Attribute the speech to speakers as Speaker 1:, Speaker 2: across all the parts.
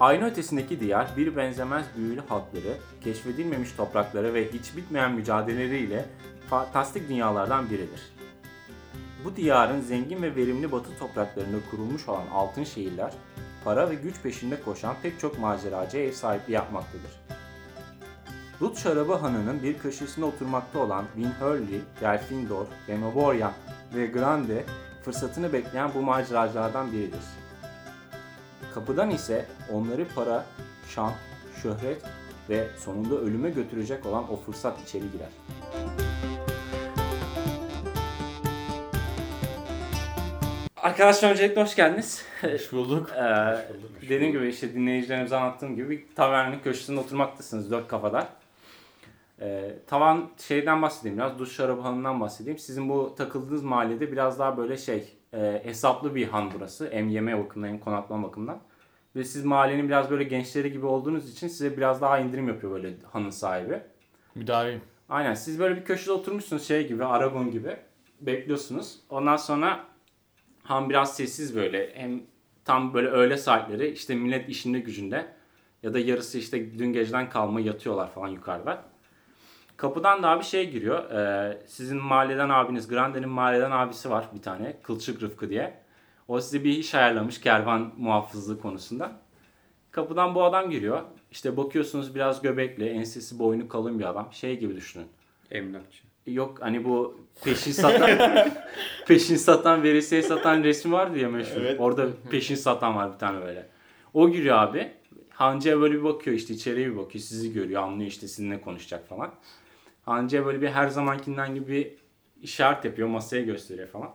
Speaker 1: Ayna ötesindeki diyar bir benzemez büyülü halkları, keşfedilmemiş toprakları ve hiç bitmeyen mücadeleleriyle fantastik dünyalardan biridir. Bu diyarın zengin ve verimli batı topraklarında kurulmuş olan altın şehirler, para ve güç peşinde koşan pek çok maceracıya ev sahipliği yapmaktadır. Lut Şarabı Hanı'nın bir köşesinde oturmakta olan Winhurley, Gelfindor, Demoborian ve Grande fırsatını bekleyen bu maceracılardan biridir. Kapıdan ise onları para, şan, şöhret ve sonunda ölüme götürecek olan o fırsat içeri girer. Arkadaşlar öncelikle hoş geldiniz.
Speaker 2: Hoş bulduk.
Speaker 1: Ee, dediğim gibi işte dinleyicilerimize anlattığım gibi bir tavernin köşesinde oturmaktasınız dört kafadar. Ee, tavan şeyden bahsedeyim biraz duş şarabı hanından bahsedeyim. Sizin bu takıldığınız mahallede biraz daha böyle şey e, hesaplı bir han burası. Hem yeme bakımından hem konaklama bakımından. Ve siz mahallenin biraz böyle gençleri gibi olduğunuz için size biraz daha indirim yapıyor böyle hanın sahibi.
Speaker 2: Müdavim.
Speaker 1: Aynen siz böyle bir köşede oturmuşsunuz şey gibi Aragon gibi bekliyorsunuz. Ondan sonra han biraz sessiz böyle hem tam böyle öğle saatleri işte millet işinde gücünde ya da yarısı işte dün geceden kalma yatıyorlar falan yukarıda. Kapıdan da abi şey giriyor. Ee, sizin mahalleden abiniz, Grande'nin mahalleden abisi var bir tane. Kılçık Rıfkı diye. O size bir iş ayarlamış kervan muhafızlığı konusunda. Kapıdan bu adam giriyor. İşte bakıyorsunuz biraz göbekli, ensesi boynu kalın bir adam. Şey gibi düşünün.
Speaker 3: Emlakçı.
Speaker 1: Yok hani bu peşin satan peşin satan veresiye satan resmi vardı ya meşhur.
Speaker 2: Evet.
Speaker 1: Orada peşin satan var bir tane böyle. O giriyor abi. Hancı'ya böyle bir bakıyor işte içeriye bir bakıyor. Sizi görüyor anlıyor işte sizinle konuşacak falan. Hancı'ya böyle bir her zamankinden gibi bir işaret yapıyor. Masaya gösteriyor falan.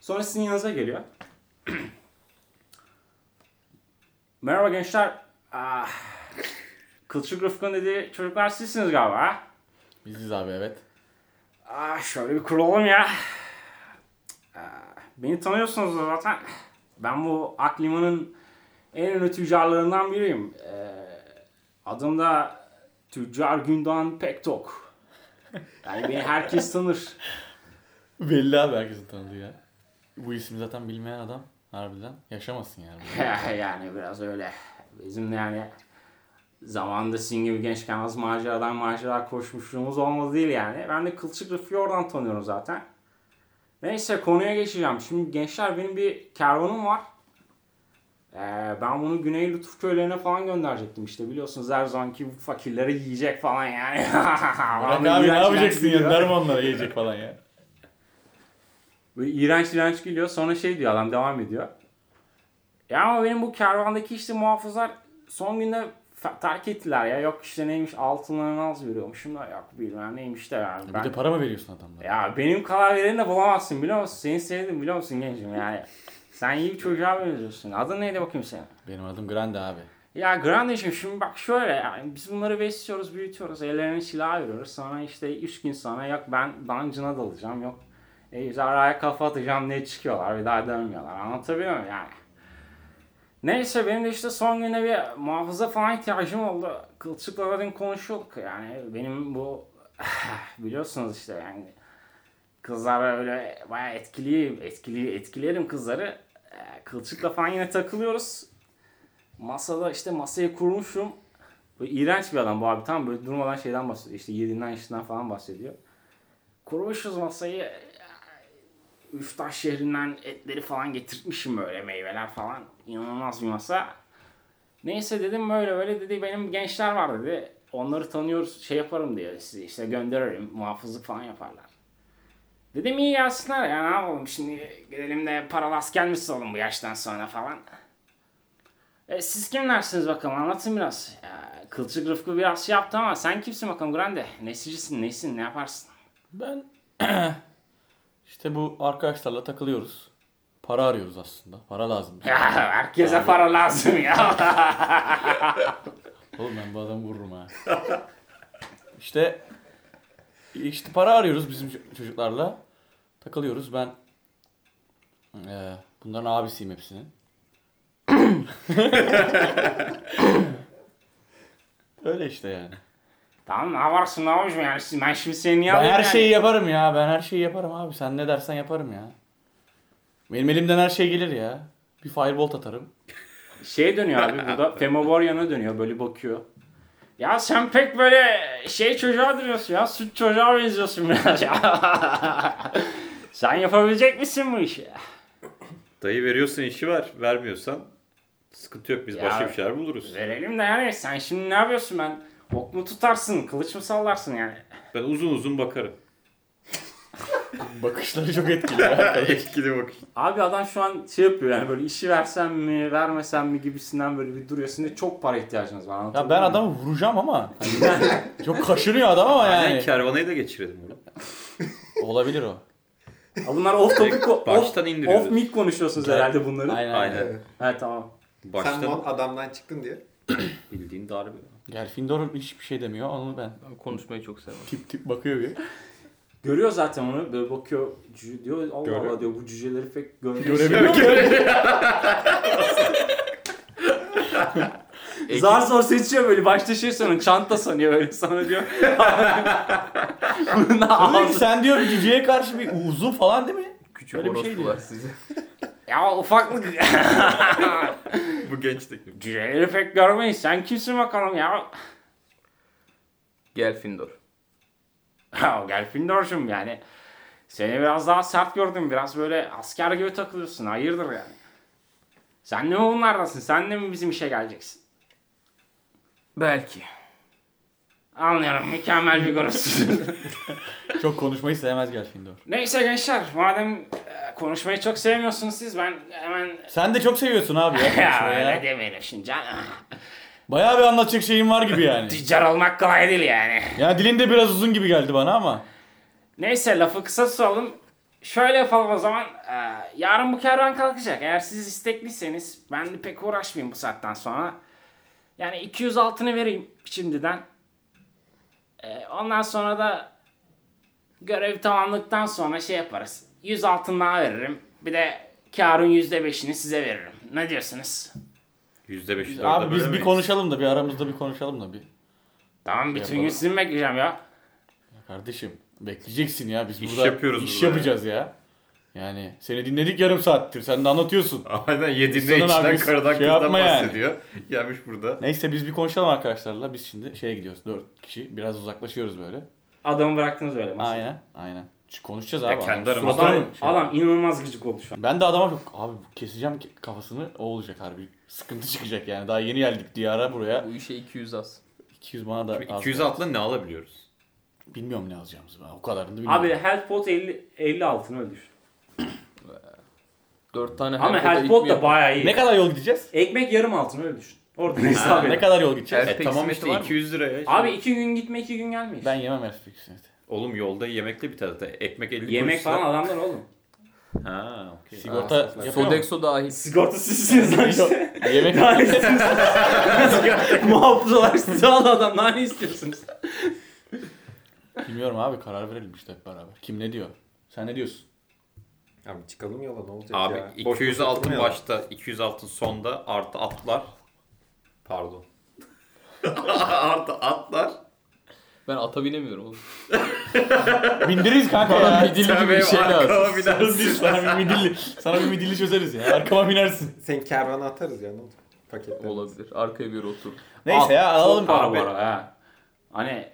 Speaker 1: Sonra sizin yanınıza geliyor. Merhaba gençler. Ah. Kılçık Rıfkı'nın dediği çocuklar sizsiniz galiba ha?
Speaker 2: Biziz abi evet.
Speaker 1: Ah şöyle bir kuralım ya. Ah, Beni tanıyorsunuz da zaten. Ben bu Aklima'nın en ünlü tüccarlarından biriyim. Ee, Adım da Tüccar Gündoğan Pektok. Yani beni herkes tanır.
Speaker 2: Belli abi herkesin tanıdığı ya. Bu ismi zaten bilmeyen adam harbiden yaşamasın yani.
Speaker 1: yani biraz öyle. Bizim de yani zamanında sizin gibi gençken az maceradan macera koşmuşluğumuz olmadı değil yani. Ben de Kılçık Rıfkı'yı oradan tanıyorum zaten. Neyse konuya geçeceğim. Şimdi gençler benim bir kervanım var. Ee, ben bunu Güney Lütuf köylerine falan gönderecektim işte biliyorsunuz her zamanki bu fakirlere yiyecek falan yani.
Speaker 2: Bırak
Speaker 1: Bana
Speaker 2: abi ne
Speaker 1: iğrenç
Speaker 2: yapacaksın
Speaker 1: iğrenç
Speaker 2: ya?
Speaker 1: geliyor.
Speaker 2: Dermanlara yiyecek falan ya.
Speaker 1: Böyle iğrenç iğrenç gülüyor. Sonra şey diyor adam devam ediyor. Ya ama benim bu kervandaki işte muhafızlar son günde fe- terk ettiler ya. Yok işte neymiş altınlarını az veriyormuşum da yok bilmem neymiş de yani.
Speaker 2: Bir
Speaker 1: Ben-
Speaker 2: de para mı veriyorsun adamlara?
Speaker 1: ya benim kadar vereni de bulamazsın biliyor musun? Seni sevdim biliyor musun gençim yani. Sen iyi bir çocuğa benziyorsun. Adın neydi bakayım senin?
Speaker 2: Benim adım Grande abi.
Speaker 1: Ya Grande'cim şimdi bak şöyle yani biz bunları besliyoruz, büyütüyoruz, ellerine silah veriyoruz. Sonra işte üç gün sonra yok ben dungeon'a dalacağım, yok ejderhaya kafa atacağım diye çıkıyorlar bir daha dönmüyorlar. Anlatabiliyor muyum yani? Neyse benim de işte son güne bir muhafıza falan ihtiyacım oldu. Kılçıkla dedim konuşuyorduk yani benim bu biliyorsunuz işte yani kızlar öyle bayağı etkili, etkili, etkilerim kızları. Ee, Kılçıkla falan yine takılıyoruz masada işte masayı kurmuşum. Böyle iğrenç bir adam bu abi tam böyle durmadan şeyden bahsediyor. İşte yediğinden içtiğinden falan bahsediyor. Kurmuşuz masayı. Üftaş şehrinden etleri falan getirtmişim böyle meyveler falan. İnanılmaz bir masa. Neyse dedim böyle böyle dedi benim gençler var dedi. Onları tanıyoruz şey yaparım diye sizi işte gönderirim muhafızlık falan yaparlar. Dedim iyi gelsinler ya ne yapalım şimdi gidelim de paralas gelmiş oğlum bu yaştan sonra falan. E, siz kimlersiniz bakalım anlatın biraz. Ya, Kılçık Rıfkı biraz şey yaptı ama sen kimsin bakalım Grande? Nesicisin, neysin, ne yaparsın?
Speaker 2: Ben işte bu arkadaşlarla takılıyoruz. Para arıyoruz aslında. Para lazım.
Speaker 1: Ya, herkese para lazım ya.
Speaker 2: Oğlum ben bu adamı vururum ha. işte işte para arıyoruz bizim ço- çocuklarla. Takılıyoruz ben. eee, bunların abisiyim hepsinin. Öyle işte yani.
Speaker 1: tamam ne yaparsın ne yaparsın yani siz- ben şimdi seni niye
Speaker 2: Ben
Speaker 1: alayım
Speaker 2: her
Speaker 1: yani?
Speaker 2: şeyi yaparım ya. Ben her şeyi yaparım abi. Sen ne dersen yaparım ya. Benim elimden her şey gelir ya. Bir firebolt atarım.
Speaker 1: Şeye dönüyor abi burada. Femoboryana dönüyor böyle bakıyor. Ya sen pek böyle şey çocuğa duruyorsun ya. Süt çocuğa benziyorsun biraz ya. sen yapabilecek misin bu işi?
Speaker 3: Dayı veriyorsan işi ver. Vermiyorsan sıkıntı yok. Biz
Speaker 1: Ya-
Speaker 3: başka bir şeyler buluruz.
Speaker 1: Verelim de yani sen şimdi ne yapıyorsun ben? Ok mu tutarsın, kılıç mı sallarsın yani?
Speaker 3: Ben uzun uzun bakarım.
Speaker 2: Bakışları çok etkili. ya.
Speaker 3: Etkili bakış.
Speaker 1: Abi adam şu an şey yapıyor yani böyle işi versem mi, vermesem mi gibisinden böyle bir duruyor. Sizin de çok para ihtiyacınız var. anlatabiliyor
Speaker 2: ya ben
Speaker 1: muyum?
Speaker 2: adamı vuracağım ama. Hani çok kaşınıyor adam ama
Speaker 3: Yani
Speaker 2: yani.
Speaker 3: kervanayı da geçirelim bunu.
Speaker 2: Olabilir o.
Speaker 1: Ha, Bunlar off topic, off,
Speaker 3: Baştan indiriyoruz.
Speaker 1: off mic konuşuyorsunuz herhalde bunları.
Speaker 2: Aynen. aynen.
Speaker 3: Aynen.
Speaker 1: Evet tamam.
Speaker 3: Baştan
Speaker 4: Sen mon adamdan çıktın diye.
Speaker 3: bildiğin darbe.
Speaker 2: Gelfindor hiçbir şey demiyor. Onu ben
Speaker 5: Ben konuşmayı çok sevmem.
Speaker 2: tip tip bakıyor bir.
Speaker 1: Görüyor zaten onu böyle bakıyor cüce diyor Allah Allah diyor bu cüceleri pek görmüyor. Zar zor seçiyor böyle başta şey sanıyor çanta sanıyor böyle sana diyor. Bunu da
Speaker 2: Diyor ki,
Speaker 1: al.
Speaker 2: sen diyor bir cüceye karşı bir uzun falan değil mi?
Speaker 5: Küçük
Speaker 2: Öyle bir şey
Speaker 5: orospular sizi.
Speaker 1: Ya ufaklık
Speaker 3: Bu gençlik.
Speaker 1: cüceleri pek görmeyiz sen kimsin bakalım ya.
Speaker 5: Gelfindor.
Speaker 1: Ya Gelfindor'cum yani seni biraz daha sert gördüm. Biraz böyle asker gibi takılıyorsun. Hayırdır yani? Sen de mi bunlardasın? Sen de mi bizim işe geleceksin?
Speaker 5: Belki.
Speaker 1: Anlıyorum. Mükemmel bir grupsun.
Speaker 2: Çok konuşmayı sevmez Gelfindor.
Speaker 1: Neyse gençler. Madem e, konuşmayı çok sevmiyorsunuz siz ben hemen...
Speaker 2: Sen de çok seviyorsun abi ya.
Speaker 1: Ya
Speaker 2: konuşmayı
Speaker 1: öyle
Speaker 2: ya.
Speaker 1: demeyelim şimdi canım.
Speaker 2: Bayağı bir anlatacak şeyin var gibi yani.
Speaker 1: Tüccar olmak kolay değil yani.
Speaker 2: Yani dilin de biraz uzun gibi geldi bana ama.
Speaker 1: Neyse lafı kısa tutalım. Şöyle yapalım o zaman. Ee, yarın bu kervan kalkacak. Eğer siz istekliyseniz ben de pek uğraşmayayım bu saatten sonra. Yani 200 altını vereyim şimdiden. Ee, ondan sonra da görev tamamlıktan sonra şey yaparız. 100 altın daha veririm. Bir de karın %5'ini size veririm. Ne diyorsunuz?
Speaker 3: Yüzde beş.
Speaker 2: Abi biz bir konuşalım da bir aramızda bir konuşalım da bir.
Speaker 1: Tamam bütün gün
Speaker 2: Şey Yapalım.
Speaker 1: sizin bekleyeceğim ya.
Speaker 2: Kardeşim bekleyeceksin ya biz
Speaker 3: İş
Speaker 2: burada
Speaker 3: yapıyoruz
Speaker 2: iş
Speaker 3: burada
Speaker 2: yapacağız ya. Yani seni dinledik yarım saattir. Sen de anlatıyorsun.
Speaker 3: Aynen yediğinde
Speaker 2: Sana
Speaker 3: içten
Speaker 2: abi
Speaker 3: karadan
Speaker 2: şey
Speaker 3: kızdan
Speaker 2: yapma yani.
Speaker 3: bahsediyor. Gelmiş burada.
Speaker 2: Neyse biz bir konuşalım arkadaşlarla. Biz şimdi şeye gidiyoruz. Dört kişi. Biraz uzaklaşıyoruz böyle.
Speaker 1: Adamı bıraktınız öyle. masada.
Speaker 2: Aynen. Aynen. Çünkü Konuşacağız abi.
Speaker 3: Ya kendi
Speaker 2: Adam-
Speaker 3: aramızda-
Speaker 2: Adam-
Speaker 1: Adam, adam inanılmaz gıcık oldu şu an.
Speaker 2: Ben de adama çok abi keseceğim ki- kafasını o olacak harbi. Sıkıntı çıkacak yani. Daha yeni geldik diyara buraya.
Speaker 5: Bu işe 200 az.
Speaker 2: 200 bana da
Speaker 3: Şimdi
Speaker 2: az
Speaker 3: 200
Speaker 2: geldi.
Speaker 3: altına ne alabiliyoruz?
Speaker 2: Bilmiyorum ne alacağımızı ben. O kadarını da bilmiyorum.
Speaker 1: Abi health pot 50, 50 altını ödür.
Speaker 5: 4 tane
Speaker 1: Ama
Speaker 5: Hellpot'a
Speaker 1: Hellbot
Speaker 5: itmiyor.
Speaker 1: da bayağı iyi.
Speaker 2: ne kadar yol gideceğiz?
Speaker 1: Ekmek yarım altın öyle düşün. Orada hesap
Speaker 2: ne
Speaker 1: et.
Speaker 2: kadar yol gideceğiz?
Speaker 5: Evet.
Speaker 3: E
Speaker 5: Peki,
Speaker 3: tamam
Speaker 5: simit
Speaker 3: işte
Speaker 5: var mı?
Speaker 3: 200 liraya. Şimdi-
Speaker 1: Abi iki gün gitme iki gün gelme işte.
Speaker 2: Ben yemem Erfik simit.
Speaker 3: Oğlum yolda yemekle biter zaten. Ekmek 50
Speaker 1: Yemek
Speaker 3: kuruşsa-
Speaker 1: falan adamlar oğlum.
Speaker 3: Ha okey.
Speaker 2: Sigorta yapıyor mu?
Speaker 5: Sodexo dahil.
Speaker 1: Sigorta sizsiniz lan işte.
Speaker 2: Yemek
Speaker 1: Muhafız olarak sizi aldı adam. Daha ne istiyorsunuz?
Speaker 2: Bilmiyorum abi karar verelim işte hep beraber. Kim ne diyor? Sen ne diyorsun?
Speaker 4: Abi çıkalım yola ne olacak
Speaker 3: Abi
Speaker 4: ya?
Speaker 3: 200
Speaker 4: boş
Speaker 3: altın
Speaker 4: oturmayalım.
Speaker 3: başta, 200 altın sonda artı atlar. Pardon. artı atlar.
Speaker 5: Ben ata binemiyorum oğlum.
Speaker 2: Bindiririz kanka ya.
Speaker 5: midilli gibi bir şey lazım.
Speaker 3: Arkama biner.
Speaker 2: Biz sana bir midilli, sana bir midilli çözeriz ya. Arkama binersin.
Speaker 4: Sen kervana atarız ya ne olacak? Paketler.
Speaker 5: Olabilir. Arkaya bir otur.
Speaker 2: Neyse ya alalım.
Speaker 1: Çok para
Speaker 3: abi.
Speaker 1: bu arada ha. Hani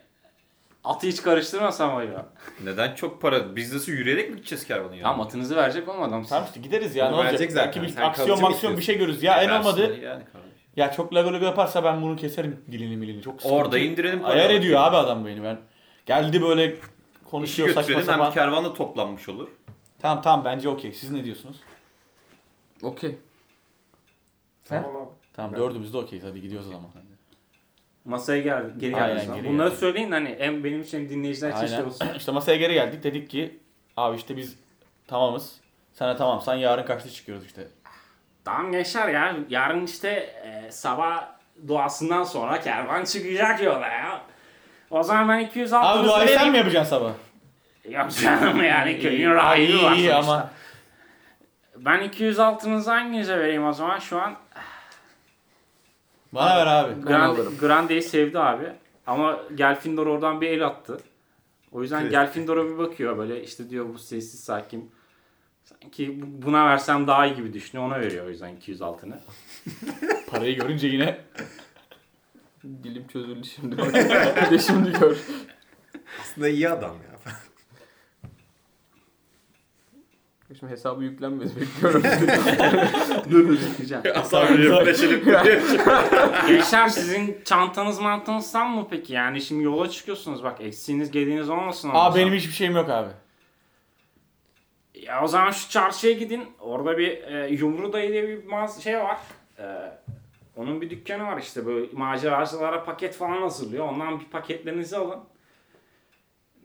Speaker 1: atı hiç karıştırmasam var ya.
Speaker 3: Neden çok para? Biz nasıl yürüyerek mi gideceğiz kervanın yanına?
Speaker 1: Tamam atınızı verecek oğlum adam size.
Speaker 2: Tamam işte gideriz ya ne
Speaker 4: Bunu
Speaker 2: olacak?
Speaker 4: verecek zaten.
Speaker 2: Belki bir
Speaker 4: Sen
Speaker 2: aksiyon
Speaker 4: kalıcı mı
Speaker 2: maksiyon bir
Speaker 4: istiyorsun?
Speaker 2: şey görürüz. Ya en
Speaker 3: Versin
Speaker 2: olmadı.
Speaker 3: Yani kardeşim.
Speaker 2: Ya çok lagolog yaparsa ben bunu keserim dilini milini. Çok sıkıntı.
Speaker 3: Orada indirelim parayı.
Speaker 2: Ayar ediyor abi adam beni ben. Geldi böyle
Speaker 3: İşi
Speaker 2: konuşuyor saçma
Speaker 3: şey götürelim hem
Speaker 2: sapan.
Speaker 3: kervan da toplanmış olur.
Speaker 2: Tamam tamam bence okey. Siz ne diyorsunuz?
Speaker 5: Okey.
Speaker 4: Tamam abi.
Speaker 2: Tamam
Speaker 4: Ben-
Speaker 2: dördümüz de okeyiz hadi gidiyoruz o zaman.
Speaker 1: Masaya gel, geri
Speaker 2: Aynen,
Speaker 1: geldiniz. lan.
Speaker 2: geri
Speaker 1: Bunları
Speaker 2: geldim.
Speaker 1: söyleyin hani hem benim için hem dinleyiciler için şey
Speaker 2: Aynen.
Speaker 1: olsun.
Speaker 2: işte masaya geri geldik dedik ki abi işte biz tamamız. Sana tamam sen yarın kaçta çıkıyoruz işte.
Speaker 1: Tamam gençler ya yarın işte e, sabah duasından sonra kervan çıkacak yola ya. O zaman ben 200
Speaker 2: Abi
Speaker 1: altınızı
Speaker 2: duayı sen
Speaker 1: vereyim.
Speaker 2: mi yapacaksın sabah?
Speaker 1: Yok canım yani köyün
Speaker 2: Ay,
Speaker 1: rahibi
Speaker 2: iyi,
Speaker 1: var
Speaker 2: iyi
Speaker 1: sonuçta.
Speaker 2: ama.
Speaker 1: Ben 200 altınızı hanginize vereyim o zaman şu an?
Speaker 2: Bana ver abi.
Speaker 1: Grand,
Speaker 5: alırım.
Speaker 1: Grande'yi sevdi abi. Ama Gelfindor oradan bir el attı. O yüzden
Speaker 3: Evet.
Speaker 1: Gelfindor'a bir bakıyor böyle işte diyor bu sessiz sakin. Sanki bu- buna versem daha iyi gibi düşünüyor. Ona veriyor o yüzden 200 altını.
Speaker 2: Parayı görünce yine
Speaker 5: Dilim çözüldü şimdi. Bir de şimdi gör.
Speaker 4: Aslında iyi adam ya.
Speaker 5: Şimdi hesabı yüklenmedi bekliyorum. Dur yükleyeceğim.
Speaker 3: Asla bir yapılaşalım.
Speaker 1: Gençler sizin çantanız mantanızdan mı peki? Yani şimdi yola çıkıyorsunuz bak eksiğiniz gediğiniz olmasın. ondan
Speaker 2: aa
Speaker 1: sonra.
Speaker 2: benim hiçbir şeyim yok abi.
Speaker 1: Ya o zaman şu çarşıya gidin. Orada bir e, Yumru Dayı diye bir mağaza şey var. E, onun bir dükkanı var işte böyle maceracılara paket falan hazırlıyor. Ondan bir paketlerinizi alın.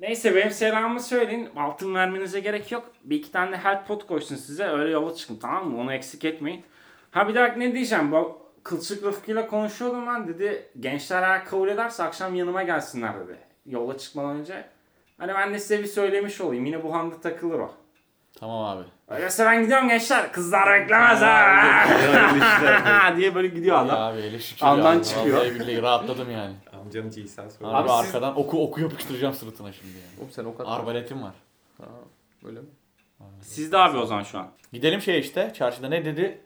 Speaker 1: Neyse benim selamımı söyleyin. Altın vermenize gerek yok. Bir iki tane de help pot koysun size. Öyle yola çıkın tamam mı? Onu eksik etmeyin. Ha bir dakika ne diyeceğim? Bu Kılçık Rıfkı'yla konuşuyordum ben dedi. Gençler eğer kabul ederse akşam yanıma gelsinler dedi. Yola çıkmadan önce. Hani ben de size bir söylemiş olayım. Yine bu handa takılır o.
Speaker 2: Tamam abi.
Speaker 1: Öyleyse ben gidiyorum gençler. Kızlar beklemez ha.
Speaker 3: Hayırlı işler.
Speaker 1: diye böyle gidiyor
Speaker 2: Ya
Speaker 1: adam.
Speaker 2: abi hele şükür
Speaker 1: Andan
Speaker 2: ya.
Speaker 1: çıkıyor.
Speaker 2: Vallahi billahi rahatladım yani.
Speaker 4: Amcanın cinsel sorunu.
Speaker 1: Abi
Speaker 2: Abi,
Speaker 1: siz-
Speaker 2: arkadan oku oku yapıştıracağım sırtına şimdi yani.
Speaker 5: Oğlum sen o kadar.
Speaker 2: Arbaletim var.
Speaker 5: Ha, öyle mi?
Speaker 1: Siz de abi o zaman şu an.
Speaker 2: Gidelim şey işte çarşıda ne dedi?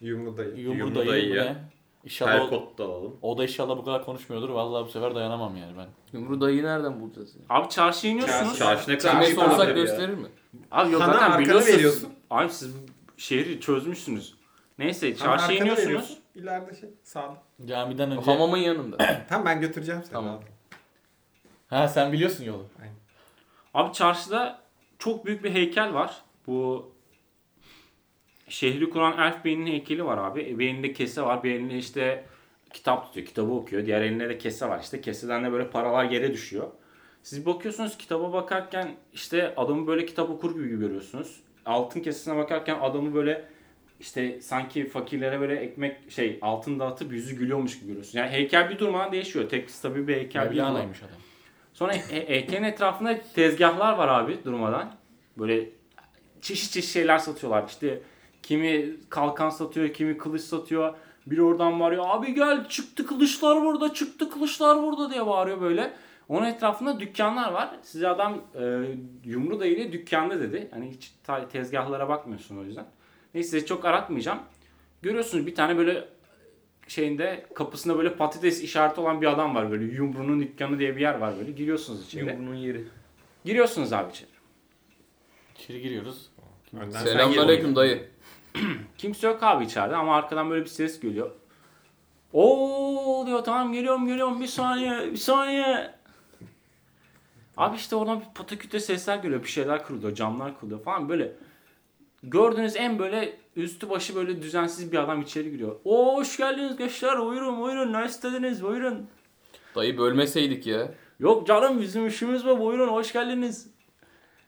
Speaker 4: Yumru dayı.
Speaker 2: Yumru
Speaker 3: Yumru
Speaker 2: dayı.
Speaker 3: dayı
Speaker 2: mı
Speaker 3: ya.
Speaker 2: ne? İnşallah o,
Speaker 3: Perkot da alalım.
Speaker 2: o da inşallah bu kadar konuşmuyordur. Vallahi bu sefer dayanamam yani ben.
Speaker 5: Yumru dayı nereden bulacağız ya?
Speaker 1: Abi çarşıya iniyorsunuz.
Speaker 3: Çarşına
Speaker 5: Kime
Speaker 3: karşı
Speaker 5: sorsak
Speaker 3: tabii ya.
Speaker 5: gösterir mi?
Speaker 1: Abi yok
Speaker 4: Sana
Speaker 1: zaten
Speaker 4: arkana
Speaker 1: biliyorsunuz.
Speaker 4: veriyorsun.
Speaker 1: Abi siz bu şehri çözmüşsünüz. Neyse
Speaker 4: Tamam,
Speaker 1: çarşıya
Speaker 4: arkana
Speaker 1: iniyorsunuz.
Speaker 4: veriyorsun. İleride şey sağda.
Speaker 2: Camiden önce.
Speaker 5: Hamamın yanında.
Speaker 4: Tamam ben götüreceğim seni.
Speaker 5: Tamam.
Speaker 4: abi.
Speaker 2: Ha sen biliyorsun yolu.
Speaker 1: Abi çarşıda çok büyük bir heykel var. Bu şehri kuran Elf Bey'in heykeli var abi. Bir elinde kese var. Bir elinde işte kitap tutuyor. Kitabı okuyor. Diğer elinde de kese var. İşte keseden de böyle paralar yere düşüyor. Siz bakıyorsunuz kitaba bakarken işte adamı böyle kitap okur gibi görüyorsunuz. Altın kesesine bakarken adamı böyle işte sanki fakirlere böyle ekmek şey altın dağıtıp yüzü gülüyormuş gibi görüyorsunuz. Yani heykel bir durmadan değişiyor. Tek tabii bir heykel bir durmadan.
Speaker 2: Mevlana'ymış adam.
Speaker 1: Sonra he- heykelin etrafında tezgahlar var abi durmadan. Böyle çeşit çeşit şeyler satıyorlar. İşte kimi kalkan satıyor, kimi kılıç satıyor. Biri oradan bağırıyor. Abi gel çıktı kılıçlar burada, çıktı kılıçlar burada diye bağırıyor böyle. Onun etrafında dükkanlar var. Size adam e, yumru da ile dükkanda dedi. Hani hiç ta- tezgahlara bakmıyorsun o yüzden. Neyse size çok aratmayacağım. Görüyorsunuz bir tane böyle şeyinde kapısında böyle patates işareti olan bir adam var böyle yumrunun dükkanı diye bir yer var böyle giriyorsunuz içeri.
Speaker 3: Yumrunun yeri.
Speaker 1: Giriyorsunuz abi içeri.
Speaker 2: İçeri giriyoruz.
Speaker 4: Önden sen gir.
Speaker 5: Selamünaleyküm dayı.
Speaker 1: Kimse yok abi içeride ama arkadan böyle bir ses geliyor. Oo diyor tamam geliyorum geliyorum bir saniye bir saniye. Abi işte oradan bir pataküte sesler geliyor bir şeyler kırılıyor camlar kırılıyor falan böyle. Gördüğünüz en böyle üstü başı böyle düzensiz bir adam içeri giriyor. Oo hoş geldiniz gençler buyurun buyurun ne istediniz buyurun.
Speaker 5: Dayı bölmeseydik ya.
Speaker 1: Yok canım bizim işimiz bu buyurun hoş geldiniz.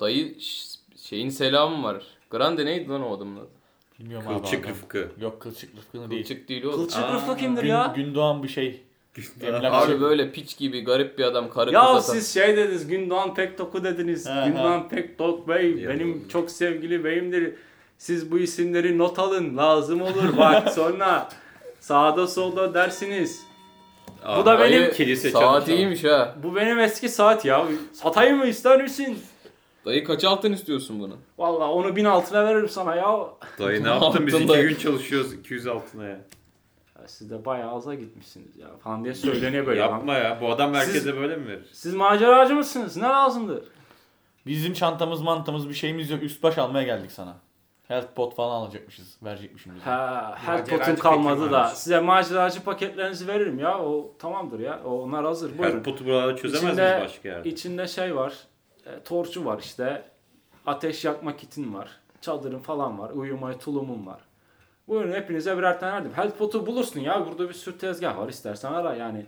Speaker 5: Dayı ş- şeyin selamı var. Grande neydi lan o adamın adı?
Speaker 2: Bilmiyorum
Speaker 3: Kılçık
Speaker 2: abi. adam.
Speaker 3: rıfkı.
Speaker 2: Yok kılçık rıfkını değil.
Speaker 5: Kılçık değil oğlum.
Speaker 1: Kılçık
Speaker 3: Aa,
Speaker 1: Rıfkı kimdir
Speaker 2: Gün,
Speaker 1: ya?
Speaker 2: Gündoğan bir şey. Emlak-
Speaker 5: Abi böyle piç gibi garip bir adam karı
Speaker 1: Ya
Speaker 5: kız atan.
Speaker 1: siz şey dediniz Gündoğan Pektok'u dediniz.
Speaker 2: He,
Speaker 1: Gündoğan Pektok Bey
Speaker 3: Ya.
Speaker 1: benim çok sevgili beyimdir. Siz bu isimleri not alın lazım olur bak sonra sağda solda dersiniz. Bu da benim
Speaker 5: Dayı,
Speaker 3: kilise
Speaker 5: saat
Speaker 3: çalışan.
Speaker 5: iyiymiş ha.
Speaker 1: Bu benim eski saat ya. Satayım mı ister misin?
Speaker 5: Dayı kaç altın istiyorsun bunu?
Speaker 1: Vallahi onu bin altına veririm sana ya.
Speaker 3: Dayı ne yaptın biz
Speaker 5: Altın
Speaker 3: iki
Speaker 5: dayı.
Speaker 3: gün çalışıyoruz 200 altına ya.
Speaker 1: Ya Siz de bayağı aza gitmişsiniz ya falan diye söyleniyor böyle. adam.
Speaker 3: Yapma ya bu adam herkese
Speaker 1: Siz-
Speaker 3: böyle mi verir?
Speaker 1: Siz maceracı mısınız? Ne lazımdır?
Speaker 2: Bizim çantamız mantamız bir şeyimiz yok. Üst baş almaya geldik sana. Health pot falan alacakmışız. Verecekmişim bize.
Speaker 1: Ha, her
Speaker 4: Maceracı
Speaker 1: potum kalmadı
Speaker 4: pekim
Speaker 1: da.
Speaker 4: varmış.
Speaker 1: Size maceracı paketlerinizi veririm ya. O tamamdır ya. O, onlar hazır. Buyurun.
Speaker 3: Her potu buralarda çözemez
Speaker 1: İçinde-
Speaker 3: miyiz başka yerde?
Speaker 1: İçinde şey var. e, torcu var işte. Ateş yakma kitin var. Çadırın falan var. Uyumaya tulumun var. Buyurun hepinize birer tane verdim. Health pot'u bulursun ya. Burada bir sürü tezgah var. İstersen ara yani.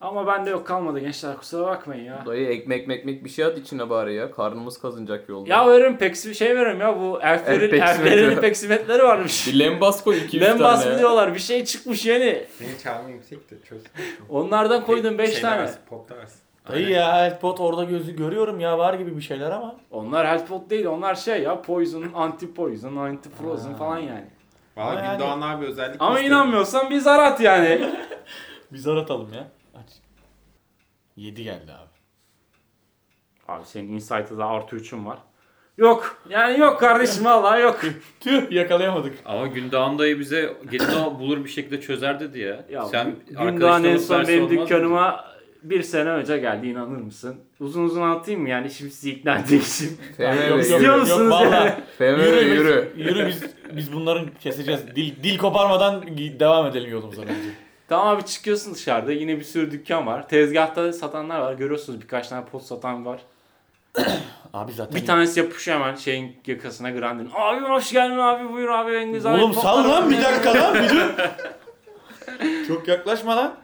Speaker 1: Ama bende yok kalmadı gençler. Kusura bakmayın ya.
Speaker 5: Dayı ekmek mekmek bir şey at içine bari ya. Karnımız kazınacak yolda.
Speaker 1: Ya veririm peksi şey veririm ya bu
Speaker 5: El
Speaker 1: elflerin
Speaker 5: peksimetri.
Speaker 1: elflerin peksimetleri varmış.
Speaker 5: Bir lembas koy 200 tane.
Speaker 1: Lembas mı
Speaker 5: ya.
Speaker 1: diyorlar bir şey çıkmış yeni.
Speaker 4: Senin çağrın yüksek de çöz.
Speaker 1: Onlardan koydum 5
Speaker 4: Şeyde
Speaker 1: tane.
Speaker 4: versin, Popta versin.
Speaker 2: Dayı ya health pot orada gözü görüyorum ya var gibi bir şeyler ama.
Speaker 1: Onlar health pot değil onlar şey ya poison, anti poison, anti frozen falan yani.
Speaker 4: Valla
Speaker 2: Ama yani-
Speaker 4: Gündoğan abi özellikle
Speaker 1: Ama
Speaker 4: istedim.
Speaker 1: inanmıyorsan bir zar at yani.
Speaker 2: Biz aratalım ya. Aç. 7 geldi abi.
Speaker 1: Abi senin insight'ı da artı 3'ün var. Yok. Yani yok kardeşim vallahi yok.
Speaker 2: Tüh yakalayamadık.
Speaker 3: Ama Gündoğan dayı bize gelin bulur bir şekilde çözer dedi ya.
Speaker 1: Ya,
Speaker 3: Sen
Speaker 1: Gündoğan en son benim
Speaker 3: arkadaşlarımız dersi olmaz mı?
Speaker 1: dükkanıma bir sene önce geldi inanır mısın? Uzun uzun anlatayım mı yani şimdi sizi ikna edeceğim.
Speaker 5: FM
Speaker 2: Yok,
Speaker 5: veriyor.
Speaker 1: İstiyor
Speaker 2: yok,
Speaker 1: musunuz
Speaker 2: yok,
Speaker 1: yani?
Speaker 2: valla.
Speaker 5: FM
Speaker 2: Yürü,
Speaker 5: veriyor,
Speaker 2: biz-
Speaker 5: yürü.
Speaker 2: yürü biz, biz bunların keseceğiz. Dil, dil koparmadan gi- devam edelim yolumuza bence.
Speaker 1: Tamam abi çıkıyorsun dışarıda yine bir sürü dükkan var. Tezgahta satanlar var görüyorsunuz birkaç tane pot satan var.
Speaker 2: Abi zaten...
Speaker 1: Bir tanesi yapışıyor hemen şeyin yakasına Grandin. Abi hoş geldin abi buyur abi en güzel.
Speaker 2: Oğlum sal
Speaker 1: potlar
Speaker 2: lan
Speaker 1: var."
Speaker 2: bir dakika lan bir dur. Çok yaklaşma lan.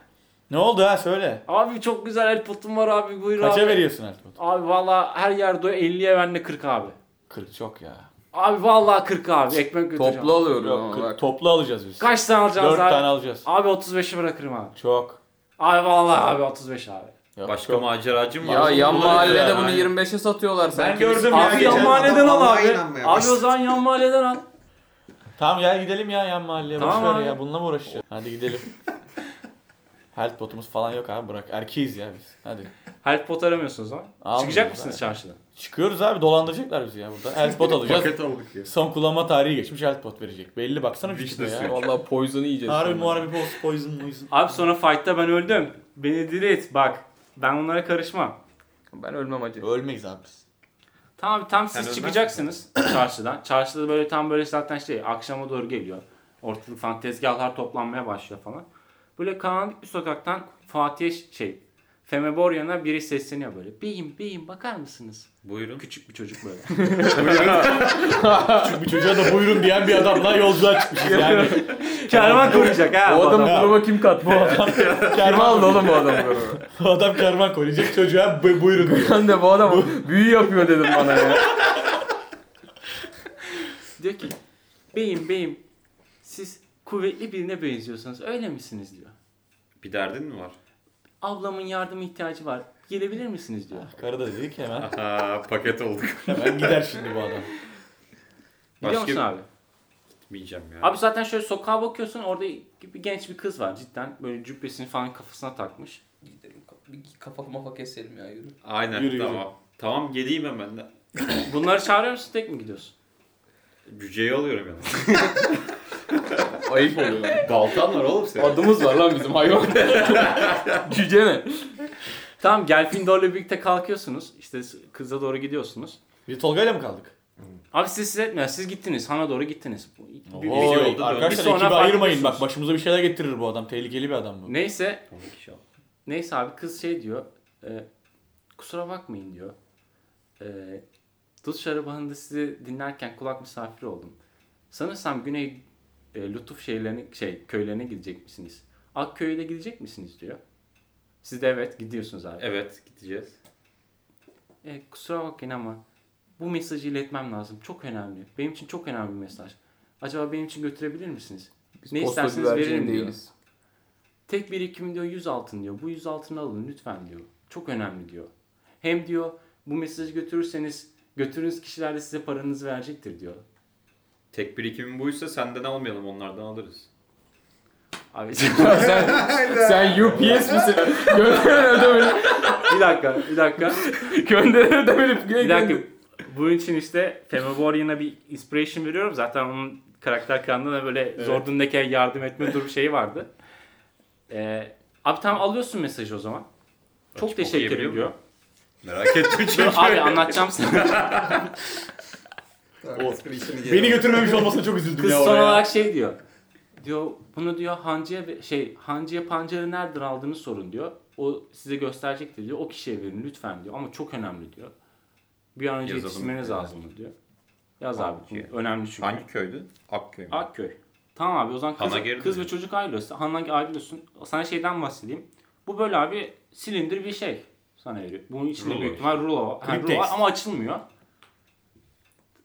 Speaker 2: Ne oldu ha söyle.
Speaker 1: Abi çok güzel el potum var abi buyur
Speaker 2: Kaça
Speaker 1: abi.
Speaker 2: veriyorsun Ertuğrul?
Speaker 1: Abi valla her yerde o 50'ye ben de 40 abi.
Speaker 2: 40 çok ya.
Speaker 1: Abi valla 40 abi ekmek götüreceğim.
Speaker 5: Toplu alıyorum
Speaker 2: Yok,
Speaker 5: ama
Speaker 2: 40,
Speaker 5: bak.
Speaker 2: toplu alacağız biz. 4
Speaker 1: Kaç tane alacağız abi?
Speaker 2: tane alacağız.
Speaker 1: Abi 35'i bırakırım abi.
Speaker 2: Çok.
Speaker 1: Abi valla abi 35 abi.
Speaker 2: Yok,
Speaker 3: Başka
Speaker 2: çok.
Speaker 3: maceracım var.
Speaker 5: Ya yan
Speaker 3: Bunları-
Speaker 5: mahallede bunu
Speaker 3: Yani.
Speaker 5: 25'e satıyorlar sanki.
Speaker 4: gördüm
Speaker 5: Biz-
Speaker 4: ya.
Speaker 1: Abi
Speaker 4: geçen
Speaker 1: yan
Speaker 4: adam
Speaker 1: mahalleden al
Speaker 4: Allah'a
Speaker 1: abi.
Speaker 4: inanmaya
Speaker 1: Abi o
Speaker 4: başladı.
Speaker 1: zaman yan mahalleden al.
Speaker 2: Tamam ya gidelim ya yan mahalleye.
Speaker 1: Tamam
Speaker 2: Boş ver
Speaker 1: abi.
Speaker 2: ya bununla mı uğraşacağız? Hadi gidelim. Health botumuz falan yok abi bırak. Erkeğiz ya biz. Hadi.
Speaker 1: Help pot aramıyorsunuz ama.
Speaker 2: Almıyoruz
Speaker 1: Çıkacak
Speaker 2: abi.
Speaker 1: mısınız çarşıda?
Speaker 2: Çıkıyoruz abi dolandıracaklar bizi ya burada. Health bot alacağız.
Speaker 4: Paket aldık ya.
Speaker 2: Son kullanma tarihi geçmiş health bot verecek. Belli baksana bir
Speaker 4: Hiç
Speaker 2: tipe
Speaker 4: de
Speaker 2: ya.
Speaker 4: yok.
Speaker 5: Vallahi poison'u yiyeceğiz.
Speaker 2: Harbi
Speaker 5: sonra.
Speaker 2: muharbi post poison poison.
Speaker 1: Abi sonra fight'ta ben öldüm. Beni delete bak. Ben bunlara karışmam.
Speaker 5: Ben ölmem acı.
Speaker 2: Ölmeyiz abi biz.
Speaker 1: Tamam tam
Speaker 4: Sen
Speaker 1: siz
Speaker 4: ölmezsin.
Speaker 1: çıkacaksınız çarşıdan. Çarşıda böyle tam böyle zaten şey akşama doğru geliyor. Ortalık falan tezgahlar toplanmaya başlıyor falan. Böyle karanlık bir sokaktan Fatih şey Feme Boryan'a biri sesleniyor böyle. Beyim beyim bakar mısınız?
Speaker 3: Buyurun.
Speaker 1: Küçük bir çocuk böyle.
Speaker 2: Çünkü bir çocuğa da buyurun diyen bir adamla yolculuğa çıkmışız yani.
Speaker 1: Kervan kuracak ha.
Speaker 5: O
Speaker 1: bu
Speaker 5: adamı
Speaker 1: adam.
Speaker 5: kuruma kim kat? Bu adam. Kim
Speaker 2: kervan,
Speaker 5: aldı oğlum bu adamı kuruma?
Speaker 2: bu adam kervan koruyacak çocuğa bu- buyurun diyor.
Speaker 5: Ben de bu adam büyü yapıyor dedim bana ya.
Speaker 1: Diyor ki beyim beyim siz kuvvetli birine benziyorsunuz öyle misiniz diyor.
Speaker 3: Bir derdin mi var?
Speaker 1: Ablamın yardıma ihtiyacı var. Gelebilir misiniz diyor.
Speaker 2: Karı da dedi ki hemen,
Speaker 3: Aha paket olduk.
Speaker 2: hemen gider şimdi bu adam.
Speaker 1: Biliyor
Speaker 3: Başka-
Speaker 1: musun abi?
Speaker 3: Gitmeyeceğim ya.
Speaker 1: Abi zaten şöyle sokağa bakıyorsun orada bir genç bir kız var cidden. Böyle cübbesini falan kafasına takmış.
Speaker 5: Gidelim kafa mafa keselim ya yürü.
Speaker 3: Aynen
Speaker 2: Yürü, yürü.
Speaker 3: tamam. Tamam geleyim hemen.
Speaker 1: Bunları çağırıyor musun tek mi gidiyorsun?
Speaker 3: Cüceyi alıyorum yani.
Speaker 5: Ayıp oluyor.
Speaker 3: Baltan var oğlum senin.
Speaker 5: Adımız var lan bizim hayvan. Cüce mi?
Speaker 1: Tamam Gelfindor'la birlikte kalkıyorsunuz. İşte kıza doğru gidiyorsunuz.
Speaker 2: Biz Tolga'yla mı kaldık?
Speaker 1: Abi siz siz etmiyor. Siz gittiniz. Hana doğru gittiniz. Bu- bir- bir-
Speaker 2: Oy,
Speaker 3: oldu da.
Speaker 1: Bir
Speaker 2: arkadaşlar
Speaker 1: sonra
Speaker 2: ekibi
Speaker 1: fark
Speaker 2: ayırmayın
Speaker 1: ediyorsunuz.
Speaker 2: bak başımıza bir şeyler getirir bu adam. Tehlikeli bir adam bu.
Speaker 1: Neyse
Speaker 3: Tamam, inşallah.
Speaker 1: Neyse abi kız şey diyor. e, kusura bakmayın diyor. E, Dut Şarabanı'nda sizi dinlerken kulak misafiri oldum. Sanırsam Güney e, Lütuf şehirlerine, şey, köylerine gidecek misiniz? Akköy'e de gidecek misiniz diyor. Siz de evet gidiyorsunuz abi.
Speaker 3: Evet gideceğiz.
Speaker 1: E, kusura bakmayın ama bu mesajı iletmem lazım. Çok önemli. Benim için çok önemli bir mesaj. Acaba benim için götürebilir misiniz? ne isterseniz veririm diyor. Tek birikim diyor 100 altın diyor. Bu 100 altını alın lütfen diyor. Çok önemli diyor. Hem diyor bu mesajı götürürseniz götürünüz kişiler de size paranızı verecektir diyor.
Speaker 3: Tek birikimim buysa senden almayalım onlardan alırız.
Speaker 1: Abi
Speaker 5: sen, sen UPS misin? Gönderen ödemeli.
Speaker 1: bir dakika bir dakika
Speaker 5: Gönderen ödemeli.
Speaker 1: bir dakika. Bunun için işte Femme Warrior'ına bir inspiration veriyorum. Zaten onun karakter kanında da böyle Zordun Leke'ye yardım etme durum şeyi vardı. Ee, abi tamam alıyorsun mesajı o zaman. Çok
Speaker 3: Açıp
Speaker 1: teşekkür
Speaker 3: okuyabiliyor
Speaker 1: ediyor.
Speaker 3: Merak ettim çünkü.
Speaker 1: Abi anlatacağım sana.
Speaker 4: Tamam, espri işini geri
Speaker 2: Beni götürmemiş olmasına çok üzüldüm
Speaker 1: Kız
Speaker 2: ya
Speaker 1: son
Speaker 2: oraya.
Speaker 1: olarak şey diyor. Diyor bunu diyor hancıya ve- şey hancıya pancarı nereden aldığını sorun diyor. O size gösterecektir diyor. O kişiye verin lütfen diyor. Ama çok önemli diyor. Bir an önce
Speaker 3: Yazalım.
Speaker 1: yetişmeniz lazım diyor. Yaz abi.
Speaker 3: Hangi?
Speaker 1: Önemli çünkü.
Speaker 3: Hangi köydü? Akköy mü?
Speaker 1: Akköy. Tamam abi o zaman kız,
Speaker 3: Hana geri
Speaker 1: kız ve
Speaker 3: dönüyor.
Speaker 1: çocuk ayrılıyorsun. Handan ayrılıyorsun. Sana şeyden bahsedeyim. Bu böyle abi silindir bir şey sana veriyor. Bunun içinde
Speaker 3: Rulo
Speaker 1: büyük
Speaker 3: işte.
Speaker 1: ihtimal rulo var. Ha, rulo
Speaker 2: Kriptex.
Speaker 1: var ama açılmıyor.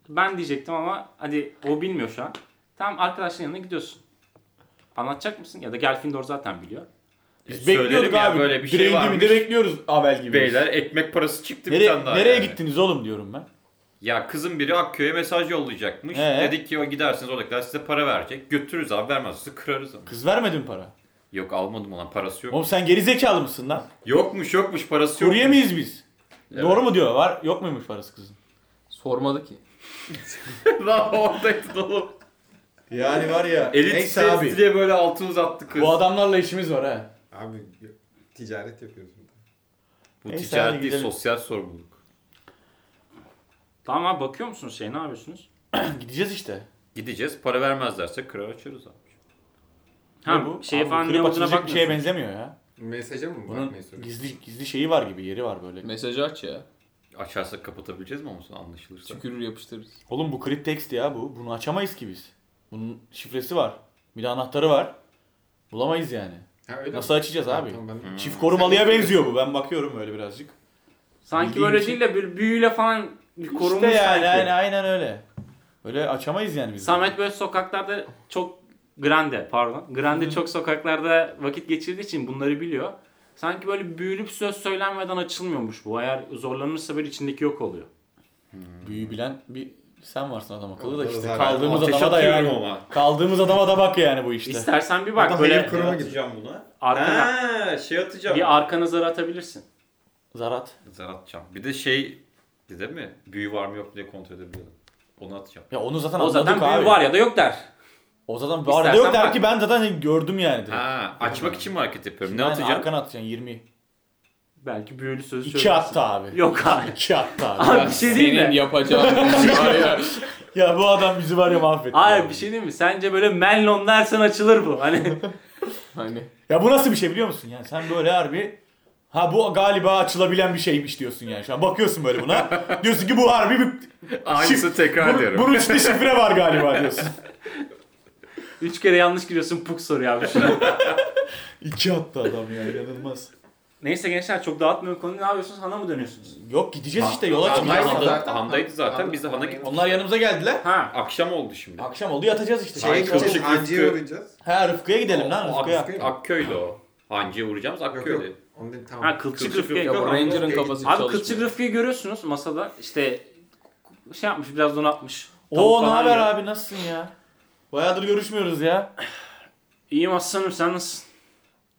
Speaker 1: Ben diyecektim ama hadi o bilmiyor şu an. Tamam arkadaşların yanına gidiyorsun. Anlatacak mısın? Ya da Gelfindor zaten biliyor.
Speaker 2: Biz
Speaker 3: Söylerim
Speaker 2: bekliyorduk
Speaker 3: ya,
Speaker 2: abi.
Speaker 3: böyle bir şey
Speaker 2: Direğin
Speaker 3: varmış.
Speaker 2: dibinde bekliyoruz Abel gibi.
Speaker 3: Beyler ekmek parası çıktı bir
Speaker 2: Nereye,
Speaker 3: tane daha.
Speaker 2: nereye
Speaker 3: yani.
Speaker 2: gittiniz oğlum diyorum ben.
Speaker 3: Ya kızın biri Akköy'e mesaj yollayacakmış.
Speaker 2: Ee?
Speaker 3: Dedik ki o gidersiniz oradakiler size para verecek. Götürürüz abi vermezse kırarız ama.
Speaker 2: Kız vermedi mi para?
Speaker 3: Yok almadım olan parası yok.
Speaker 2: Oğlum sen geri zekalı mısın lan?
Speaker 3: Yokmuş yokmuş parası yok.
Speaker 2: Kurye miyiz biz?
Speaker 3: Evet.
Speaker 2: Doğru mu diyor? Var yok muymuş parası kızın?
Speaker 5: Sormadı ki.
Speaker 3: Lan oradaydı oğlum.
Speaker 6: Yani var ya.
Speaker 3: Elit
Speaker 6: neyse abi.
Speaker 3: ses diye böyle altı uzattı kız.
Speaker 2: Bu adamlarla işimiz var ha.
Speaker 4: Abi ticaret yapıyoruz burada.
Speaker 3: Bu
Speaker 2: Neyse,
Speaker 3: ticaret
Speaker 2: hadi
Speaker 3: değil
Speaker 2: gidelim.
Speaker 3: sosyal sorumluluk.
Speaker 1: Tamam abi bakıyor musunuz şey ne yapıyorsunuz?
Speaker 2: Gideceğiz işte.
Speaker 3: Gideceğiz para vermezlerse kırar açarız abi.
Speaker 1: Ha
Speaker 2: Ne bu?
Speaker 1: bu şey
Speaker 2: Abi,
Speaker 1: falan
Speaker 2: kırıp
Speaker 1: ne olduğuna
Speaker 2: atılacak bir şeye
Speaker 1: bakmıyorsun.
Speaker 2: benzemiyor ya.
Speaker 4: Mesaja mı
Speaker 2: Bunun
Speaker 4: bakmayı soruyorsun?
Speaker 2: gizli gizli şeyi var gibi, yeri var böyle.
Speaker 5: Mesajı aç ya.
Speaker 3: Açarsak kapatabileceğiz mi olmasın anlaşılırsa?
Speaker 5: Tükürür yapıştırırız.
Speaker 2: Oğlum bu text ya bu. Bunu açamayız ki biz. Bunun şifresi var. Bir de anahtarı var. Bulamayız yani.
Speaker 4: Ha, öyle mi?
Speaker 2: Nasıl açacağız
Speaker 4: Ha,
Speaker 2: abi?
Speaker 4: tamam, ben-
Speaker 2: Çift korumalıya benziyor bu. Ben bakıyorum öyle birazcık.
Speaker 1: Sanki
Speaker 2: Bildiğin
Speaker 1: böyle
Speaker 2: için-
Speaker 1: değil de bir büyüyle falan bir korunmuş
Speaker 2: işte yani
Speaker 1: sanki.
Speaker 2: aynen, aynen öyle. Öyle açamayız yani biz.
Speaker 1: Samet böyle sokaklarda çok grande pardon. Grande çok sokaklarda vakit geçirdiği için bunları biliyor. Sanki böyle büyülüp söz söylenmeden açılmıyormuş bu. Eğer zorlanırsa böyle içindeki yok oluyor.
Speaker 2: Büyü bilen bir sen varsın adam akıllı da
Speaker 4: Akıllı
Speaker 2: işte
Speaker 4: zaten.
Speaker 2: kaldığımız
Speaker 3: Ateş
Speaker 2: adama da
Speaker 3: atıyorum
Speaker 2: yani.
Speaker 3: ama.
Speaker 2: Kaldığımız adama da bak yani bu işte.
Speaker 1: İstersen bir
Speaker 4: O da
Speaker 1: bak
Speaker 4: hayal
Speaker 1: böyle
Speaker 4: kırma- Kuruma gidip.
Speaker 3: atacağım buna.
Speaker 1: arkana
Speaker 3: Ha, şey atacağım.
Speaker 1: bir arkana zar atabilirsin.
Speaker 2: Zarat.
Speaker 3: Zar atacağım. Bir de şey bir de mi? Büyü var mı yok mu diye kontrol edebilirim. Onu atacağım.
Speaker 2: Ya onu zaten
Speaker 1: O
Speaker 2: anladık
Speaker 1: zaten
Speaker 2: abi.
Speaker 1: büyü var ya da yok der.
Speaker 2: O zaten var
Speaker 1: İstersen
Speaker 2: da yok der
Speaker 1: bak.
Speaker 2: ki ben zaten gördüm yani. direkt.
Speaker 3: Ha, açmak için mi hareket yapıyorum? Ne
Speaker 2: Yani
Speaker 3: atacağım?
Speaker 2: Arkana atacaksın 20.
Speaker 1: Belki büyülü sözü
Speaker 2: İki
Speaker 1: söylüyorsun.
Speaker 2: attı abi.
Speaker 1: Yok abi.
Speaker 2: İki attı abi.
Speaker 1: Abi bir şey değil
Speaker 5: Senin
Speaker 1: mi?
Speaker 5: yapacağın var ya.
Speaker 2: ya bu adam bizi var ya mahvetti.
Speaker 1: Hayır
Speaker 2: abi.
Speaker 1: bir şey değil mi? Sence böyle Menlon dersen açılır bu. Hani
Speaker 5: Hani
Speaker 2: Ya bu nasıl bir şey biliyor musun? Yani sen böyle harbi ha bu galiba açılabilen bir şeymiş diyorsun yani şu an. Bakıyorsun böyle buna. diyorsun ki bu harbi bir...
Speaker 3: Aynısı tekrar
Speaker 2: Bunun,
Speaker 3: ediyorum.
Speaker 2: bunun içinde şifre var galiba diyorsun.
Speaker 1: üç kere yanlış giriyorsun puk soruyor abi.
Speaker 2: İki attı adam ya inanılmaz.
Speaker 1: Neyse gençler çok dağıtmıyorum konuyu. Ne yapıyorsunuz? Hana mı dönüyorsunuz?
Speaker 2: Yok gideceğiz işte yola
Speaker 4: Hamdaydı
Speaker 2: çıkacağız.
Speaker 4: Hamdaydı
Speaker 2: Onlar-
Speaker 4: zaten.
Speaker 3: Hamdaydı zaten, biz de Han'a
Speaker 4: Hamdaydı.
Speaker 3: gittik.
Speaker 2: Onlar yanımıza geldiler.
Speaker 1: Ha.
Speaker 3: Akşam oldu şimdi.
Speaker 2: Akşam oldu yatacağız işte.
Speaker 4: Şeye
Speaker 3: Ay,
Speaker 2: Şey,
Speaker 4: gideceğiz,
Speaker 3: kılçık
Speaker 4: Hancı'ya
Speaker 3: rızkı.
Speaker 4: uğrayacağız.
Speaker 2: ha Rıfkı'ya gidelim lan
Speaker 3: O-
Speaker 2: Rıfkı'ya.
Speaker 4: Rıfkı.
Speaker 3: Akköy'de o. Hancı'ya vuracağımız
Speaker 4: Yok yok.
Speaker 3: Akköy'de.
Speaker 4: Onu değil, tamam.
Speaker 1: Ha kılçık
Speaker 3: Kılçık
Speaker 1: Rıfkı.
Speaker 3: Rıfkı.
Speaker 5: ya bu Ranger'ın kafası
Speaker 1: Abi
Speaker 5: çalışmıyor.
Speaker 1: kılçık Rıfkı'yı görüyorsunuz masada. İşte şey yapmış biraz donatmış.
Speaker 2: Oo
Speaker 1: Tavuk
Speaker 2: ne
Speaker 1: falan
Speaker 2: haber
Speaker 1: yiyor.
Speaker 2: abi nasılsın ya? Bayağıdır görüşmüyoruz ya.
Speaker 1: İyiyim aslanım sen nasılsın?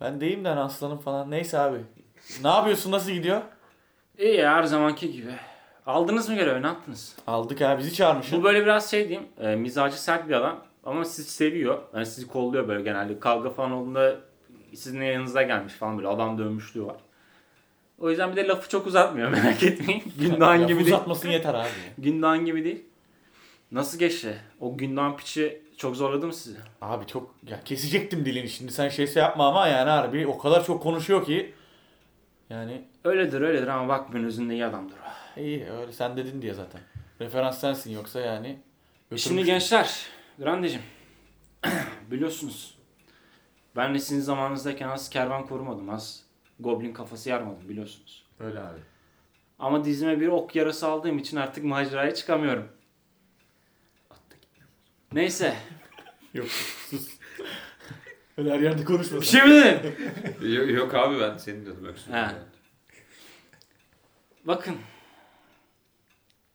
Speaker 2: Ben deyim de hani aslanım falan. Neyse abi. Ne yapıyorsun? Nasıl gidiyor?
Speaker 1: İyi ya, her zamanki gibi. Aldınız mı görevi ne yaptınız?
Speaker 2: Aldık abi. Bizi çağırmış.
Speaker 1: Bu böyle biraz şey diyeyim. e, mizacı sert bir adam. Ama sizi seviyor. Yani sizi kolluyor böyle genelde. Kavga falan olduğunda sizin yanınıza gelmiş falan böyle. Adam dövmüşlüğü var. O yüzden bir de lafı çok uzatmıyor merak etmeyin. Gündoğan gibi değil.
Speaker 2: uzatmasın yeter abi.
Speaker 1: Gündoğan gibi değil. Nasıl geçti? O Gündoğan piçi çok zorladı mı sizi?
Speaker 2: Abi çok ya kesecektim dilini şimdi sen şeyse yapma ama yani harbi o kadar çok konuşuyor ki. Yani
Speaker 1: Öyledir öyledir ama bak ben özünde iyi adamdır o.
Speaker 2: iyi öyle sen dedin diye zaten. Referans sensin yoksa yani.
Speaker 1: Şimdi
Speaker 2: götürmüş-
Speaker 1: gençler, Grande'cim biliyorsunuz ben de sizin zamanınızdayken az kervan korumadım, az goblin kafası yarmadım biliyorsunuz.
Speaker 2: Öyle abi.
Speaker 1: Ama dizime bir ok yarası aldığım için artık maceraya çıkamıyorum. Neyse.
Speaker 2: Yok sus. öyle her yerde konuşma.
Speaker 1: şey-
Speaker 2: sen.
Speaker 1: Şimdi
Speaker 3: Yok, yok abi ben senin dedim öksürüm.
Speaker 1: He. bakın.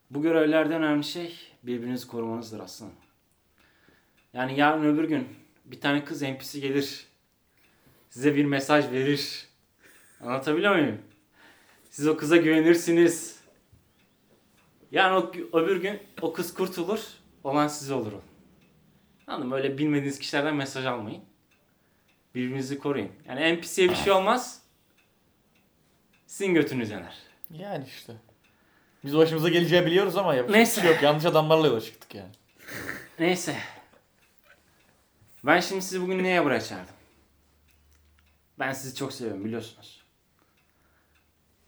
Speaker 1: Bu görevlerden önemli şey birbirinizi korumanızdır aslanım. Yani yarın öbür gün bir tane kız NPC gelir. Size bir mesaj verir. Anlatabiliyor muyum? Siz o kıza güvenirsiniz. Yani o, gü- öbür gün o kız kurtulur. Olan size olur o. Anladın mı? Öyle bilmediğiniz kişilerden mesaj almayın. Birbirinizi koruyun. Yani NPC'ye bir şey olmaz. Sizin götünüz yanar.
Speaker 2: Yani işte. Biz başımıza geleceği biliyoruz ama yapacak bir
Speaker 1: Neyse.
Speaker 2: şey yok. Yanlış adamlarla yola çıktık yani.
Speaker 1: Neyse. Ben şimdi sizi bugün neye bırakacağım? Ben sizi çok seviyorum biliyorsunuz.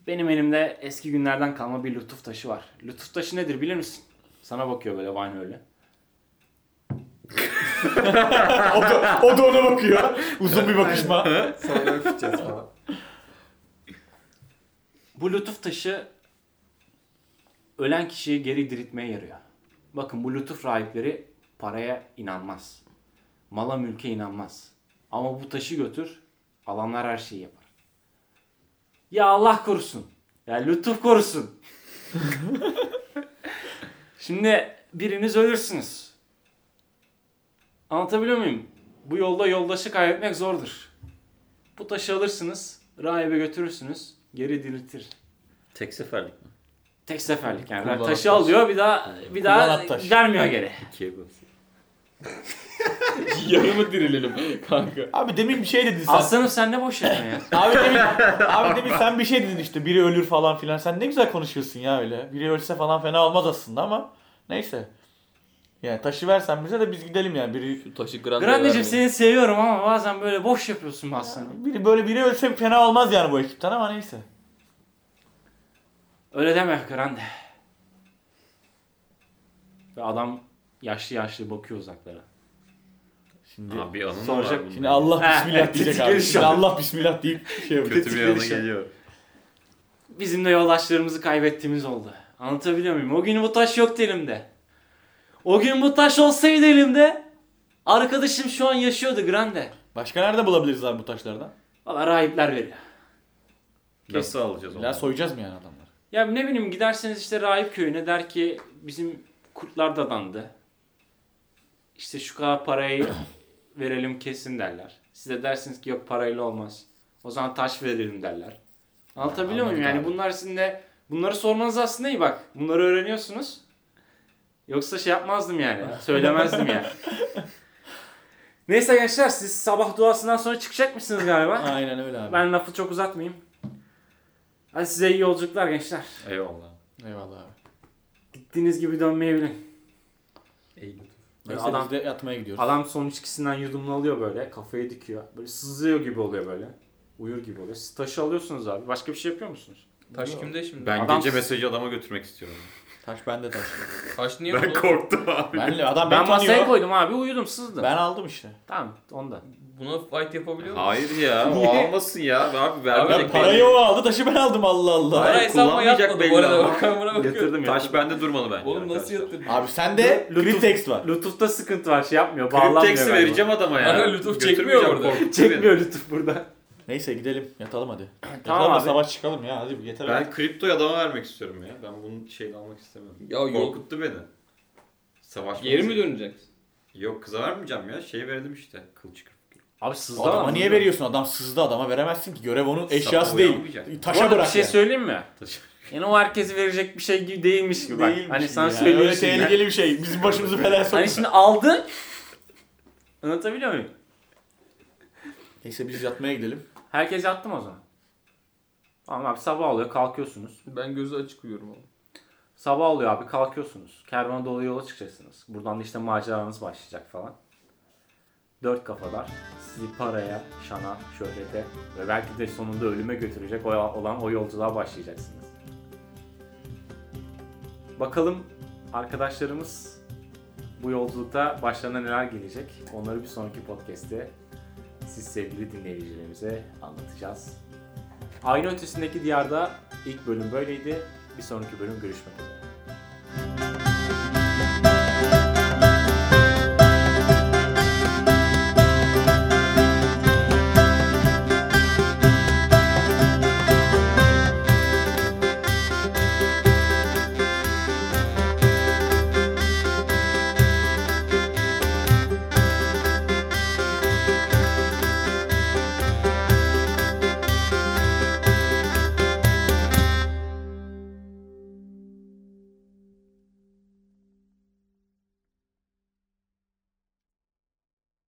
Speaker 1: Benim elimde eski günlerden kalma bir lütuf taşı var. Lütuf taşı nedir bilir misin? Sana bakıyor böyle Vine öyle.
Speaker 2: o, da, o da ona bakıyor. Uzun bir bakışma.
Speaker 4: Sonra öpeceğiz falan.
Speaker 1: Bu lütuf taşı ölen kişiyi geri diriltmeye yarıyor. Bakın bu lütuf rahipleri paraya inanmaz. Mala mülke inanmaz. Ama bu taşı götür alanlar her şeyi yapar. Ya Allah korusun. Ya lütuf korusun. Şimdi biriniz ölürsünüz. Anlatabiliyor muyum? Bu yolda yoldaşı kaybetmek zordur. Bu taşı alırsınız, rahibe götürürsünüz, geri diriltir.
Speaker 3: Tek seferlik mi?
Speaker 1: Tek seferlik yani.
Speaker 5: Kullanat
Speaker 1: taşı
Speaker 5: taş.
Speaker 1: alıyor bir daha bir daha
Speaker 2: Kullanat taş.
Speaker 1: vermiyor geri.
Speaker 3: İkiye bas.
Speaker 5: Yarımı dirilelim kanka.
Speaker 2: Abi demin bir şey dedin sen.
Speaker 1: Aslanım sen ne boş yapıyorsun ya?
Speaker 2: Abi demin, abi demin sen bir şey dedin işte biri ölür falan filan. Sen ne güzel konuşuyorsun ya öyle. Biri ölse falan fena olmaz aslında ama neyse. Yani taşı versen bize de biz gidelim yani. Biri
Speaker 5: Şu taşı Grande'ye
Speaker 1: Grandeciğim
Speaker 5: vermeyin.
Speaker 1: seni seviyorum ama bazen böyle boş yapıyorsun be aslanım.
Speaker 2: biri böyle biri ölse fena olmaz yani bu ekipten ama neyse.
Speaker 1: Öyle deme Grande. Ve adam yaşlı yaşlı bakıyor uzaklara.
Speaker 2: Şimdi
Speaker 3: Abi bir anın mı var
Speaker 1: Soracak-
Speaker 3: bunun?
Speaker 2: şimdi Allah
Speaker 1: Ha,
Speaker 2: bismillah diyecek abi.
Speaker 1: giriş
Speaker 2: Şimdi Allah bismillah deyip şey yapıyor.
Speaker 3: Kötü bir anı geliyor.
Speaker 1: Bizim de yoldaşlarımızı kaybettiğimiz oldu. Anlatabiliyor muyum? O gün bu taş yoktu elimde. O gün bu taş olsaydı elimde arkadaşım şu an yaşıyordu Grande.
Speaker 2: Başka nerede bulabiliriz abi bu taşlardan?
Speaker 1: Valla rahipler veriyor.
Speaker 3: Nasıl alacağız onu?
Speaker 2: İlla soyacağız mı yani adamları?
Speaker 1: Ya ne bileyim giderseniz işte rahip köyüne der ki bizim kurtlar dadandı. İşte şu kadar parayı verelim kesin derler. Siz de dersiniz ki yok parayla olmaz. O zaman taş verelim derler. Anlatabiliyor muyum?
Speaker 2: anladık
Speaker 1: Yani
Speaker 2: abi.
Speaker 1: bunlar sizin de bunları sormanız aslında iyi bak. Bunları öğreniyorsunuz. Yoksa şey yapmazdım yani. Söylemezdim yani. Neyse gençler siz sabah duasından sonra çıkacak mısınız galiba?
Speaker 2: Aynen öyle abi.
Speaker 1: Ben lafı çok uzatmayayım. Hadi size iyi yolculuklar gençler.
Speaker 3: Eyvallah.
Speaker 2: Eyvallah abi.
Speaker 1: Gittiğiniz gibi dönmeyi bilin.
Speaker 2: Neyse
Speaker 1: Adam-
Speaker 2: biz de yatmaya gidiyoruz.
Speaker 1: Adam son içkisinden yudumlu alıyor böyle. Kafayı dikiyor. Böyle sızıyor gibi oluyor böyle. Uyur gibi oluyor. Siz taşı alıyorsunuz abi. Başka bir şey yapıyor musunuz?
Speaker 5: Taş kimde şimdi?
Speaker 3: Ben
Speaker 1: Adam-
Speaker 3: gece mesajı adama götürmek istiyorum.
Speaker 2: Taş bende taş.
Speaker 5: Taş niye
Speaker 3: Ben
Speaker 5: burada?
Speaker 3: korktum abi.
Speaker 2: ben, adam
Speaker 1: Ben
Speaker 2: beni
Speaker 1: masaya
Speaker 2: tanıyor.
Speaker 1: koydum abi. Uyudum sızdım.
Speaker 2: Ben aldım işte.
Speaker 1: Tamam onda.
Speaker 5: Buna fight yapabiliyor musun?
Speaker 3: Hayır ya o almasın ya abi vermeyecek.
Speaker 2: Ya parayı
Speaker 3: belli.
Speaker 2: o aldı taşı ben aldım Allah Allah.
Speaker 5: Para
Speaker 3: Hayır,
Speaker 5: hesabıma
Speaker 3: kullanmayacak
Speaker 5: yatmadı
Speaker 3: belli
Speaker 5: bu arada.
Speaker 3: ama.
Speaker 5: Bakın buna bakıyorum.
Speaker 1: Yatırdım ya.
Speaker 3: Taş bende durmalı bence.
Speaker 5: Oğlum nasıl
Speaker 3: arkadaşlar.
Speaker 5: yatırdın?
Speaker 2: Abi sende
Speaker 1: Lütuf-
Speaker 2: Cryptex var.
Speaker 1: Lütuf'ta sıkıntı var. Şey yapmıyor. Bağlanmıyor.
Speaker 3: Kripteksi
Speaker 1: galiba.
Speaker 3: vereceğim adama ya.
Speaker 5: Bana lütuf çekmiyor
Speaker 3: Götürmeyeceğim,
Speaker 5: orada.
Speaker 3: korktu beni.
Speaker 1: Çekmiyor Lütuf burada.
Speaker 2: Neyse gidelim yatalım hadi. yatalım
Speaker 1: Tamam
Speaker 2: da
Speaker 1: abi.
Speaker 2: sabah çıkalım ya hadi yeter artık.
Speaker 3: Ben kriptoyu adama vermek istiyorum ya. Ben bunun şeyini almak istemiyorum.
Speaker 5: Ya yok.
Speaker 3: Korkuttu beni. Savaş
Speaker 5: Geri mi döneceksin?
Speaker 3: Yok kıza vermeyeceğim ya. Şey verdim işte. Kılıç kırp.
Speaker 1: Abi sızdı
Speaker 2: Adama
Speaker 1: ama.
Speaker 2: niye veriyorsun? Adam sızdı adama veremezsin ki. Görev onun eşyası
Speaker 3: Sapı
Speaker 2: değil.
Speaker 3: uyanmayacak.
Speaker 1: Bu
Speaker 2: Taşa
Speaker 1: arada bir
Speaker 2: bırak
Speaker 1: şey
Speaker 2: yani.
Speaker 1: söyleyeyim mi?
Speaker 3: Taşı.
Speaker 1: Yani o herkese verecek bir şey gibi değilmiş gibi bak.
Speaker 2: Değilmiş
Speaker 1: hani
Speaker 2: gibi
Speaker 1: sen
Speaker 2: ya. Öyle
Speaker 1: söylüyorsun ya.
Speaker 2: tehlikeli şey. bir şey. Bizim başımızı belaya sokma.
Speaker 1: Hani şimdi aldı. Anlatabiliyor muyum?
Speaker 2: Neyse biz yatmaya gidelim.
Speaker 1: Herkes yattı mı o zaman? Tamam abi sabah oluyor kalkıyorsunuz.
Speaker 5: Ben gözü açık uyuyorum oğlum.
Speaker 1: Sabah oluyor abi kalkıyorsunuz. Kervana dolu yola çıkacaksınız. Buradan da işte maceranız başlayacak falan. Dört kafalar sizi paraya, şana, şöhrete ve belki de sonunda ölüme götürecek o- olan o yolculuğa başlayacaksınız. Bakalım arkadaşlarımız bu yolculukta başlarına neler gelecek onları bir sonraki podcast'te siz sevgili dinleyicilerimize anlatacağız. Aynı ötesindeki diyarda ilk bölüm böyleydi. Bir sonraki bölüm görüşmek üzere.